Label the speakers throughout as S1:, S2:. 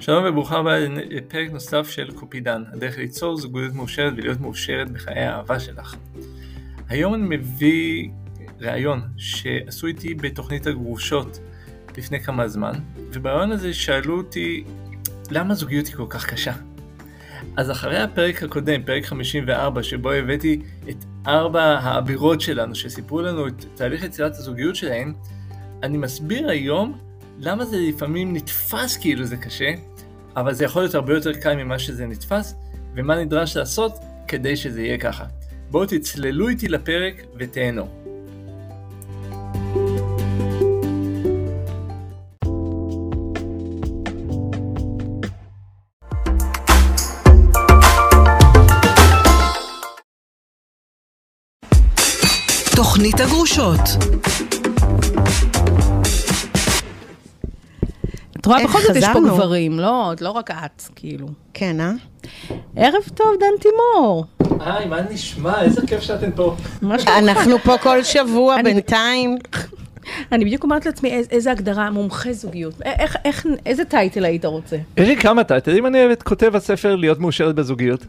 S1: שלום וברוכה הבאה לפרק נוסף של קופידן, הדרך ליצור זוגיות מאושרת ולהיות מאושרת בחיי האהבה שלך. היום אני מביא ראיון שעשו איתי בתוכנית הגרושות לפני כמה זמן, ובראיון הזה שאלו אותי למה זוגיות היא כל כך קשה. אז אחרי הפרק הקודם, פרק 54, שבו הבאתי את ארבע האבירות שלנו שסיפרו לנו את תהליך יצירת הזוגיות שלהן, אני מסביר היום למה זה לפעמים נתפס כאילו זה קשה, אבל זה יכול להיות הרבה יותר קל ממה שזה נתפס, ומה נדרש לעשות כדי שזה יהיה ככה. בואו תצללו איתי לפרק ותהנו.
S2: תוכנית הגרושות.
S3: את רואה,
S4: איך
S3: בכל זאת יש פה
S4: חזרנו?
S3: גברים, לא, את לא רק את, כאילו.
S4: כן, אה?
S3: ערב טוב, דן תימור.
S1: היי, מה נשמע? איזה כיף שאתן פה.
S3: מה שלומך?
S4: אנחנו פה כל שבוע
S3: אני-
S4: בינתיים.
S3: אני בדיוק אומרת לעצמי, איז- איזה הגדרה, מומחה זוגיות. א- איך, איך, איזה טייטל היית רוצה?
S1: יש לי כמה טייטלים, אני אוהב את כותב הספר להיות מאושרת בזוגיות.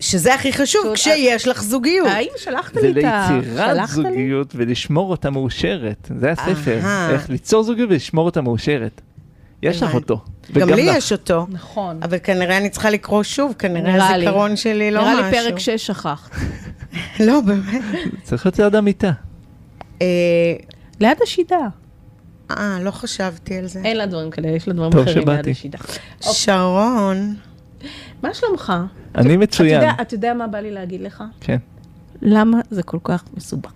S4: שזה הכי חשוב,
S3: שוב,
S4: כשיש לך זוגיות.
S3: האם שלחת
S1: זה
S3: לי את ה...
S1: ליצירת
S3: שלחת לי?
S1: זוגיות ולשמור אותה מאושרת. זה הספר,
S4: אהה.
S1: איך ליצור זוגיות ולשמור אותה מאושרת. יש לך
S4: הבנתי.
S1: אותו.
S4: גם לי
S1: לך.
S4: יש אותו.
S3: נכון.
S4: אבל כנראה אני צריכה לקרוא שוב, כנראה
S3: נראה לי.
S4: הזיכרון שלי לא משהו.
S3: נראה לי פרק 6 שכחת.
S4: לא, באמת.
S1: צריך להיות ליד המיטה.
S4: אה,
S3: ליד השידה.
S4: אה, לא חשבתי על זה.
S3: אין לה דברים כאלה, יש לה דברים
S1: טוב
S3: אחרים ליד
S1: שבאתי.
S3: השידה.
S4: שרון,
S3: מה שלומך?
S1: אני
S3: אתה
S1: מצוין.
S3: יודע- אתה יודע מה בא לי להגיד לך?
S1: כן.
S3: למה זה כל כך מסובך?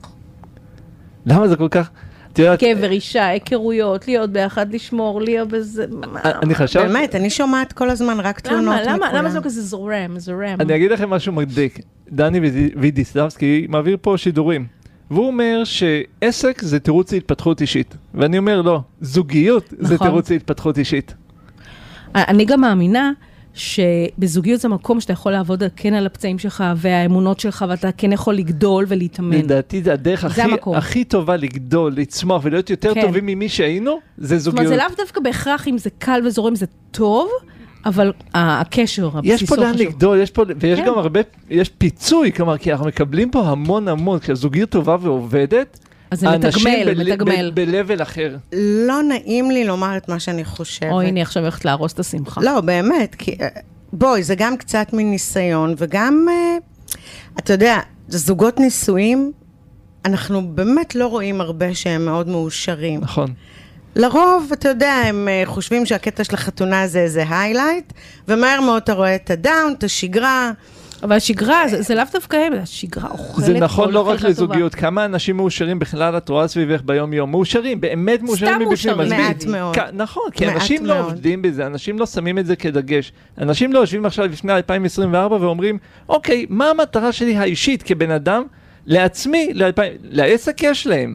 S1: למה זה כל כך... את יודעת,
S4: כן.
S3: גבר, אישה, היכרויות, להיות ביחד, לשמור, להיות בזה... מה-
S1: אני חשבתי...
S4: באמת, אני שומעת כל הזמן רק תלונות
S3: למה,
S4: מכולם.
S3: למה, למה זה לא כזה זורם, זורם?
S1: אני אגיד לכם משהו מדליק. דני וידי- וידיסלבסקי מעביר פה שידורים. והוא אומר שעסק זה תירוץ להתפתחות אישית. ואני אומר לא, זוגיות זה
S3: נכון.
S1: תירוץ להתפתחות אישית.
S3: אני גם מאמינה שבזוגיות זה מקום שאתה יכול לעבוד על- כן על הפצעים שלך והאמונות שלך, ואתה כן יכול לגדול ולהתאמן.
S1: לדעתי זה הדרך הכי,
S3: המקום.
S1: הכי טובה לגדול, לצמוח ולהיות יותר
S3: כן.
S1: טובים ממי שהיינו, זה
S3: זאת אומרת,
S1: זוגיות.
S3: זה לאו דווקא בהכרח אם זה קל וזורם, זה טוב, אבל ה- הקשר, הבסיסו
S1: יש
S3: חשוב.
S1: פה לאן לגדול, יש פה, ויש
S3: כן.
S1: גם הרבה, יש פיצוי, כלומר, כי אנחנו מקבלים פה המון המון, כשהזוגיות טובה ועובדת,
S3: אז זה
S1: האנשים
S3: מתגמל,
S1: בל-
S3: מתגמל.
S1: ב- ב-level אחר.
S4: לא נעים לי לומר את מה שאני חושבת.
S3: אוי, הנה, עכשיו הולכת להרוס את השמחה.
S4: לא, באמת, כי... אה, בואי, זה גם קצת מניסיון, וגם, אה, אתה יודע, זוגות נישואים, אנחנו באמת לא רואים הרבה שהם מאוד מאושרים.
S1: נכון.
S4: לרוב, אתה יודע, הם אה, חושבים שהקטע של החתונה זה איזה היילייט, ומהר מאוד אתה רואה את הדאון, את השגרה.
S3: אבל השגרה, זה- זה לאו דווקא הם, השגרה אוכלת
S1: זה נכון
S3: כל
S1: לא רק
S3: חלקה טובה.
S1: לזוגיות, כמה אנשים מאושרים בכלל את רואה סביבך ביום-יום, מאושרים, באמת מאושרים מבפנים.
S3: מאושרים.
S1: עזבי.
S4: מעט מאוד.
S1: כ- נכון, כי
S4: מעט
S1: אנשים לא
S4: מאוד.
S1: עובדים בזה, אנשים לא שמים את זה כדגש. אנשים לא יושבים עכשיו לפני 2024 ואומרים, אוקיי, מה המטרה שלי האישית כבן אדם? לעצמי, לאלפיים- לעסק יש להם.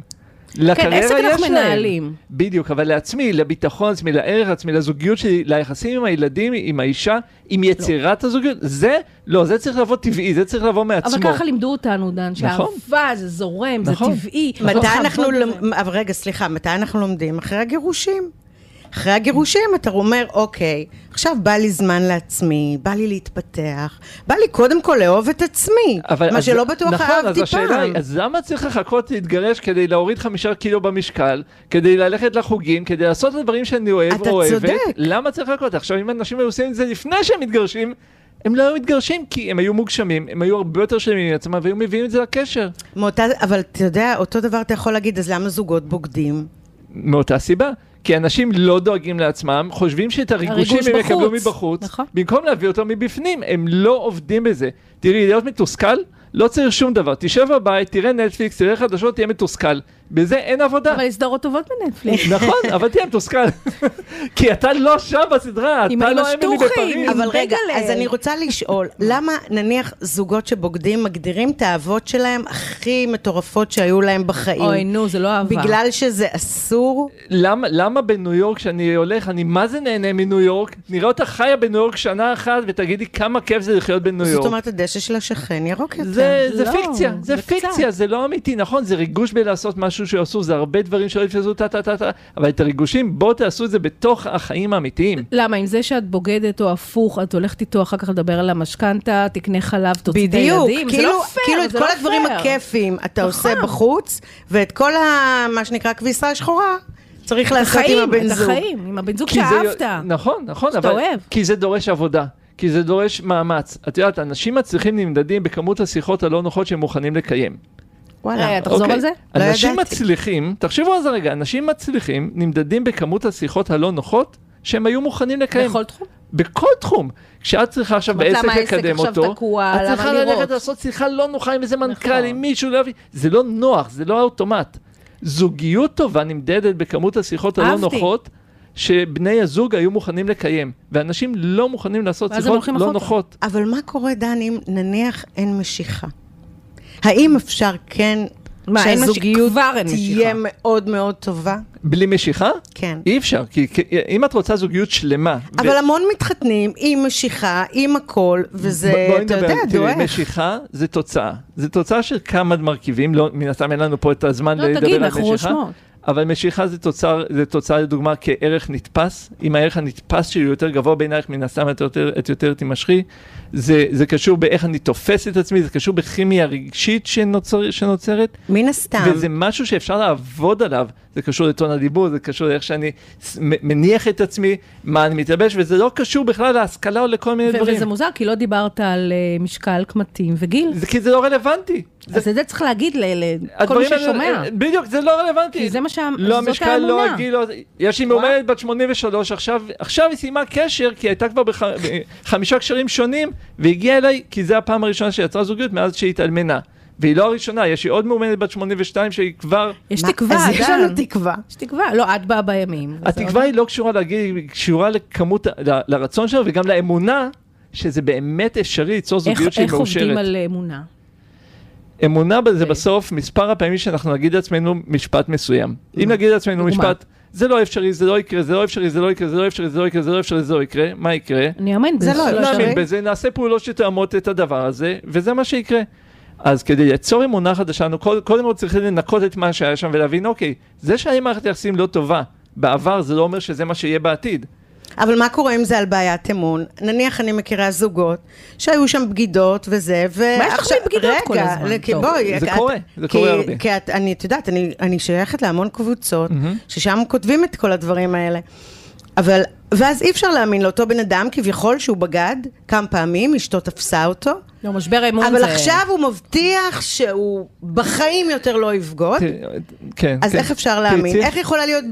S1: לקריירה
S3: כן, עסק אנחנו
S1: יש להם.
S3: מנהלים.
S1: בדיוק, אבל לעצמי, לביטחון עצמי, לערך עצמי, לזוגיות שלי, ליחסים עם הילדים, עם האישה,
S3: לא.
S1: עם יצירת הזוגיות, זה, לא, זה צריך לבוא טבעי, זה צריך לבוא מעצמו.
S3: אבל ככה לימדו אותנו, דן,
S1: נכון.
S3: שהאהבה זה זורם, זה
S1: נכון.
S3: טבעי.
S4: מתי
S3: לא
S4: אנחנו,
S3: חייבות
S4: לומ-
S3: בזה.
S4: אבל רגע, סליחה, מתי אנחנו לומדים? אחרי הגירושים. אחרי הגירושים אתה אומר, אוקיי, עכשיו בא לי זמן לעצמי, בא לי להתפתח, בא לי קודם כל לאהוב את עצמי,
S1: אבל
S4: מה
S1: אז-
S4: שלא בטוח
S1: נכון, אז
S4: אהבתי פעם.
S1: השאלה היא, אז למה צריך לחכות להתגרש כדי להוריד חמישה קילו במשקל, כדי ללכת לחוגים, כדי לעשות את הדברים שאני אוהב
S4: אתה
S1: או אוהבת?
S4: צודק.
S1: למה צריך לחכות? עכשיו, אם אנשים היו עושים את זה לפני שהם מתגרשים, הם לא היו מתגרשים כי הם היו מוגשמים, הם היו הרבה יותר שלמים עם עצמם והיו מביאים את זה לקשר.
S4: מאותה, אבל אתה יודע, אותו דבר אתה יכול להגיד, אז למה זוגות בוגדים?
S1: מאותה סיבה. כי אנשים לא דואגים לעצמם, חושבים שאת הריגושים
S3: הריגוש
S1: הם יקבלו
S3: בחוץ.
S1: מבחוץ,
S3: נכון.
S1: במקום להביא אותו מבפנים, הם לא עובדים בזה. תראי, להיות מתוסכל, לא צריך שום דבר. תשב בבית, תראה נטפליקס, תראה חדשות, תהיה מתוסכל. בזה אין עבודה.
S3: אבל יש סדרות טובות בנטפליקס.
S1: נכון, אבל תהיה מתוסכל. כי אתה לא שם בסדרה,
S3: עם
S1: אתה
S3: האמא
S1: לא אמילי
S3: שטוחי,
S1: בפריז.
S3: עם
S4: אבל רגע,
S3: בייגלה.
S4: אז אני רוצה לשאול, למה נניח זוגות שבוגדים מגדירים את האהבות שלהם הכי מטורפות שהיו להם בחיים?
S3: אוי, נו, זה לא אהבה.
S4: בגלל שזה אסור?
S1: למה, למה בניו יורק כשאני הולך, אני מה זה נהנה מניו יורק? נראה אותך חיה בניו יורק שנה אחת ותגידי כמה כיף זה לחיות בניו
S4: זאת
S1: יורק.
S4: אומרת, הדשא של השכן ירוק יותר.
S1: זה, זה
S3: לא,
S1: פיקציה, זה
S3: זה
S1: פיקציה, זה לא אמיתי, נכון, זה ריגוש בלעשות משהו משהו שעשו, זה הרבה דברים שלא יפסו, טה טה טה טה, אבל את הריגושים, בואו תעשו את זה בתוך החיים האמיתיים.
S3: למה, עם זה שאת בוגדת או הפוך, את הולכת איתו אחר כך לדבר על המשכנתה, תקנה חלב, תוציא את
S4: בדיוק,
S3: הילדים, זה
S4: כאילו,
S3: לא פייר,
S4: כאילו את
S3: זה
S4: כל
S3: לא
S4: הדברים
S3: פייר.
S4: הכיפיים אתה עושה
S3: נכון.
S4: בחוץ, ואת כל ה... מה שנקרא כביסה השחורה, צריך
S3: את
S4: לעשות עם
S3: החיים,
S4: הבן
S3: את
S4: זוג.
S3: החיים, עם הבן זוג
S1: כי זה-
S3: שאהבת.
S1: נכון, נכון,
S3: שאתה
S1: אבל...
S3: אוהב.
S1: כי זה דורש עבודה. כי זה דורש מאמץ. את יודעת, אנשים מצליחים נמדדים בכמות השיחות הלא נוחות שהם מוכנים לקיים.
S4: וואלה.
S3: אה, תחזור
S1: אוקיי?
S3: על זה?
S4: לא
S1: אנשים
S4: ידעתי.
S1: מצליחים, תחשבו על זה רגע, אנשים מצליחים נמדדים בכמות השיחות הלא נוחות שהם היו מוכנים לקיים.
S3: בכל תחום.
S1: בכל תחום. כשאת צריכה עכשיו
S3: אומרת,
S1: בעסק
S3: למה העסק
S1: לקדם
S3: עכשיו
S1: אותו,
S3: תקוע?
S1: את
S3: למה
S1: צריכה
S3: לראות?
S1: ללכת לעשות שיחה לא נוחה עם איזה מנכ"ל,
S3: נכון.
S1: עם מישהו, להביא, זה לא נוח, זה לא האוטומט. זוגיות טובה נמדדת בכמות השיחות הלא
S3: אהבתי.
S1: נוחות. שבני הזוג היו מוכנים לקיים, ואנשים לא מוכנים לעשות
S3: ואז הם
S1: שיחות
S3: הולכים
S1: לא
S3: אחר כך.
S1: נוחות.
S4: אבל מה קורה, דן, אם נניח אין משיכה? האם אפשר כן...
S3: מה, אין
S4: שהזוגיות
S3: משיכה? כבר אין
S4: תהיה
S3: משיכה.
S4: מאוד מאוד טובה?
S1: בלי משיכה?
S4: כן.
S1: אי אפשר, כי, כי אם את רוצה זוגיות שלמה, ו-
S4: אבל המון מתחתנים עם משיכה, עם הכל, וזה,
S1: בואי
S4: אתה
S1: נדבר,
S4: יודע,
S1: תראי,
S4: דועך.
S1: משיכה זה תוצאה. זה תוצאה של כמה מרכיבים, לא, מן הסתם אין לנו פה את הזמן
S3: לא,
S1: לדבר
S3: תגיד,
S1: על
S3: אנחנו
S1: משיכה.
S3: רושמות.
S1: אבל משיכה זה תוצאה, זה תוצאה לדוגמה כערך נתפס. אם הערך הנתפס שלי הוא יותר גבוה בעינייך, מן הסתם את יותר, את יותר תימשכי. זה, זה קשור באיך אני תופס את עצמי, זה קשור בכימיה רגשית שנוצר, שנוצרת.
S4: מן הסתם.
S1: וזה משהו שאפשר לעבוד עליו, זה קשור לטון הדיבור, זה קשור לאיך שאני ס- מ- מניח את עצמי, מה אני מתלבש, וזה לא קשור בכלל להשכלה או לכל מיני
S3: ו-
S1: דברים.
S3: וזה מוזר, כי לא דיברת על אה, משקל, קמטים וגיל.
S1: זה,
S4: כן,
S1: כי זה לא רלוונטי. זה,
S3: אז את זה צריך להגיד ל- לכל מי
S1: הדברים האלה-
S3: ששומע.
S1: בדיוק, זה לא רלוונטי.
S3: כי זה מה שה-
S1: לא
S3: זאת
S1: המשקל, לא
S3: האמונה.
S1: הגיל, לא... יש לי מאומנת בת 83, עכשיו, עכשיו היא סיימה קשר, כי היא הייתה כבר בחמישה קשרים שונים, והגיעה אליי, כי זו הפעם הראשונה שיצרה זוגיות מאז שהיא התאלמנה. והיא לא הראשונה, יש לי עוד מאומנת בת 82 שהיא כבר...
S3: יש
S4: מה-
S3: תקווה,
S4: אז יש
S3: אדם.
S4: לנו תקווה.
S3: יש תקווה. לא, את באה בימים. וזה עוד-
S1: התקווה היא לא קשורה לגיל, היא קשורה לכמות, ה- ל- לרצון שלה וגם לאמונה. שזה באמת אפשרי ליצור
S3: איך-
S1: זוגיות שהיא
S3: איך עובדים
S1: מאושרת.
S3: על אה, אמונה?
S1: אמונה
S4: כן.
S1: זה בסוף מספר הפעמים שאנחנו נגיד לעצמנו משפט מסוים.
S4: Mm.
S1: אם נגיד לעצמנו
S3: דוגמה.
S1: משפט, זה לא אפשרי, זה לא יקרה, זה לא אפשרי, זה לא יקרה, זה לא אפשרי, זה לא יקרה, זה לא אפשרי, זה לא יקרה, מה יקרה?
S3: אני אאמן בזה.
S4: זה לא אפשרי.
S1: נאמין בזה, נעשה פעולות שתאמות את הדבר הזה, וזה מה שיקרה. אז כדי ליצור אמונה חדשה, אנחנו קוד- קודם כל צריכים לנקות את מה שהיה שם ולהבין, אוקיי, זה שהיה מערכת יחסים לא טובה בעבר, זה לא אומר שזה מה שיהיה בעתיד.
S4: אה. אבל מה קורה אם זה על בעיית אמון? נניח אני מכירה זוגות שהיו שם בגידות וזה, ועכשיו...
S3: לך מבגידות כל הזמן?
S4: רגע, כי
S3: טוב.
S4: בואי...
S1: זה
S4: את-
S1: קורה, זה
S4: כי-
S1: קורה הרבה.
S4: כי את, אני, את יודעת, אני, אני שייכת להמון קבוצות, ששם כותבים את כל הדברים האלה. אבל, ואז אי אפשר להאמין לאותו בן אדם, כביכול שהוא בגד כמה פעמים, אשתו תפסה אותו,
S3: לא, משבר האמון זה...
S4: אבל עכשיו הוא מבטיח שהוא בחיים יותר לא יבגוד,
S1: כן.
S4: אז
S1: כן.
S4: איך אפשר
S1: תראי,
S4: להאמין?
S1: צריך-
S4: איך יכולה להיות...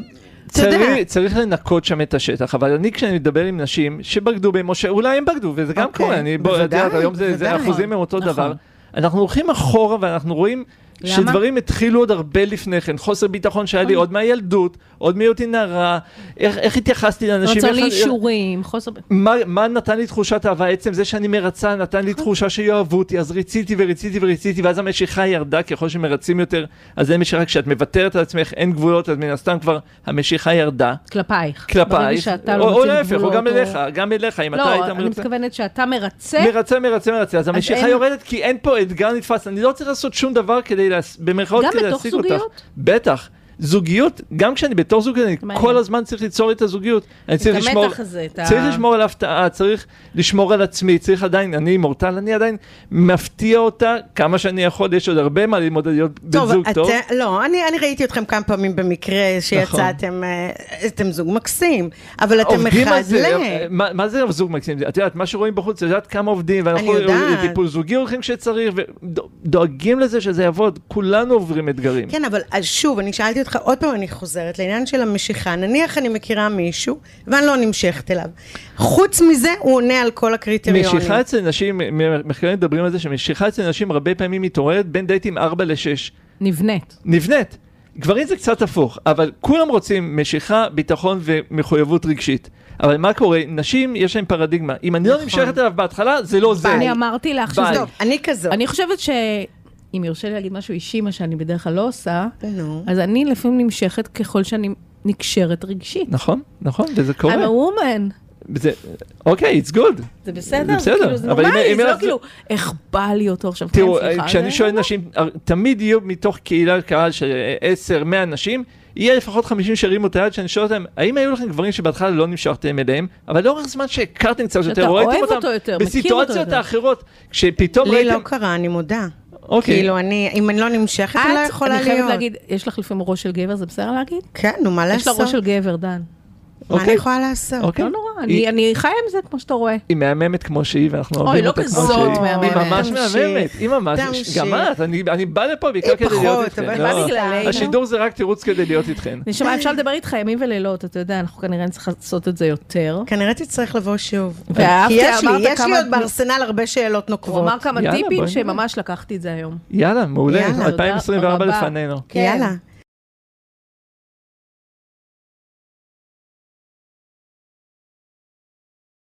S4: אתה יודע,
S1: צריך, צריך לנקות שם את השטח, אבל אני כשאני מדבר עם נשים שבגדו במשה, אולי הם בגדו, וזה גם
S4: אוקיי,
S1: קורה, אני, בוא, את
S4: בוודאי,
S1: יודעת, היום זה, זה
S4: בוודאי.
S1: אחוזים הם אותו
S3: נכון.
S1: דבר. אנחנו הולכים אחורה ואנחנו רואים
S3: למה?
S1: שדברים התחילו עוד הרבה לפני כן, חוסר ביטחון שהיה לי עוד מהילדות, עוד מהיותי נערה, איך, איך התייחסתי לאנשים,
S3: רצון
S1: איך-
S3: לאישורים, חוסר...
S1: מה, מה נתן לי תחושת אהבה? עצם זה שאני מרצה נתן
S4: נכון.
S1: לי תחושה שיאהבו אותי, אז רציתי ורציתי ורציתי, ואז המשיכה ירדה, ככל שמרצים יותר, אז אין משיכה, כשאת מוותרת על עצמך, אין גבולות, אז מן הסתם כבר המשיכה ירדה.
S3: כלפייך. ברגע
S1: כלפייך,
S3: שאתה לא
S1: או או
S3: מציב
S1: להפך, או
S3: גבולות,
S1: גם אליך, גם אליך, אם אתה היית
S3: לא, אני
S1: מרצה.
S3: מתכוונת שאתה מרצה,
S1: מרצה, מרצה, מרצה, אז המשיכה
S3: אין-
S1: יורדת כי אין פה אתגר נתפס, אני לא צריך לעשות שום דבר כדי, להס- במרכאות,
S3: גם
S1: כדי
S3: בתוך
S1: להשיג אותך.
S3: זוגיות?
S1: בטח. זוגיות, גם כשאני בתור זוגיות, אני
S3: מעניין.
S1: כל הזמן צריך ליצור את הזוגיות. אני צריך
S3: המתח
S1: לשמור,
S3: הזה, את ה-
S1: צריך לשמור על הפתעה, צריך לשמור על עצמי, צריך עדיין, אני מורטל, אני עדיין מפתיע אותה כמה שאני יכול, יש עוד הרבה מה ללמוד על להיות בן זוג
S4: אתם,
S1: טוב.
S4: לא, אני, אני ראיתי אתכם כמה פעמים במקרה שיצאתם, אה, אתם זוג מקסים, אבל אתם
S1: עובדים על זה,
S4: מחדלה.
S1: מה מה זה זוג מקסים? את יודעת, מה שרואים בחוץ, את יודעת כמה עובדים, ואנחנו
S4: אני יודעת.
S1: לטיפול זוגי הולכים כשצריך, ודואגים לזה שזה יעבוד, כולנו עוברים אתגרים.
S4: כן, אבל אז שוב, אני שאלתי אותך, עוד פעם אני חוזרת לעניין של המשיכה. נניח אני מכירה מישהו, ואני לא נמשכת אליו. חוץ מזה, הוא עונה על כל הקריטריונים.
S1: משיכה אצל נשים, מ- מחקרים מדברים על זה שמשיכה אצל נשים הרבה פעמים מתעוררת בין דייטים 4 ל-6.
S3: נבנית.
S1: נבנית. גברים זה קצת הפוך, אבל כולם רוצים משיכה, ביטחון ומחויבות רגשית. אבל מה קורה? נשים, יש להן פרדיגמה. אם אני
S4: נכון.
S1: לא נמשכת אליו בהתחלה, זה לא זה.
S4: אמ-
S3: אני אמרתי לך
S1: ביי.
S3: שזה...
S4: טוב, אני כזאת.
S3: אני חושבת ש... אם יורשה לי להגיד משהו אישי, מה שאני בדרך כלל לא עושה,
S4: נו.
S3: אז אני לפעמים נמשכת ככל שאני נקשרת רגשית.
S1: נכון, נכון, וזה קורה.
S4: אמ-
S3: I'm a woman.
S1: זה, אוקיי, it's good.
S3: זה בסדר?
S1: זה בסדר,
S3: כאילו, זה
S1: אבל אם-
S3: נורמלי,
S1: אם
S3: זה
S1: אין
S3: לא
S1: לך-
S3: כאילו, איך בא לי אותו עכשיו, כן,
S1: תראו,
S3: סליחה.
S1: כשאני
S3: זה- נכון.
S1: שואל נשים, אה, תמיד יהיו מתוך קהילה, קהל של 10, 100 נשים, יהיה לפחות 50 שהרימו את היד, שאני שואל אותם, האם היו לכם גברים שבהתחלה לא נמשכתם אליהם, אבל לאורך זמן שהכרתם קצת יותר,
S3: אוהב
S1: ראיתם
S3: אותו
S1: אותם
S3: יותר, מכיר אותו
S1: בסיטואציות
S3: יותר.
S1: האחרות, כשפתאום
S4: לי לא
S1: ראיתם,
S4: קרה, אני מודה.
S1: אוקיי,
S4: כאילו, אני, אם אני לא נמשכת, אני לא
S3: את,
S4: יכולה
S3: אני חייבת
S4: להיות.
S3: להגיד, יש לך לפעמים ראש של גבר, זה בסדר להגיד?
S4: כן, נו, מה
S3: יש לה
S4: לעשות?
S3: ראש של גבר, דן.
S4: מה אני
S1: אוקיי.
S4: יכולה לעשות?
S1: אוקיי.
S3: לא נורא,
S1: היא-
S3: אני- אני חיה עם זה כמו שאתה רואה.
S1: היא מהממת כמו שהיא, ואנחנו אוהבים
S3: לא
S1: אותה כמו שהיא.
S3: כזאת
S1: היא
S3: מהממת.
S1: ממש
S4: תמשיך,
S1: מהממת, היא ממש,
S4: תמשיך.
S1: גם את, אני אני בא לפה בעיקר
S4: היא
S1: כדי להיות
S4: פחות,
S1: איתכן.
S4: אבל
S1: לא.
S4: מה
S3: בגללנו?
S1: השידור זה רק תירוץ כדי להיות איתכן.
S3: נשמע, אפשר לדבר איתך ימים ולילות, אתה יודע, אנחנו כנראה נצטרך לעשות את זה יותר.
S4: כנראה תצטרך לבוא שוב.
S3: ואהבתי,
S4: כי יש לי,
S3: אמרת
S4: יש לי
S3: כמה-
S4: עוד בארסנל הרבה שאלות
S3: הוא
S4: נוקבות.
S3: אמר כמה
S1: יאללה,
S3: טיפים
S1: בואי.
S3: שממש לקחתי את זה היום.
S1: יאללה, מעולה,
S4: יאללה,
S3: תודה
S1: 2024
S3: רבה.
S1: לפנינו.
S3: כן.
S4: יאללה,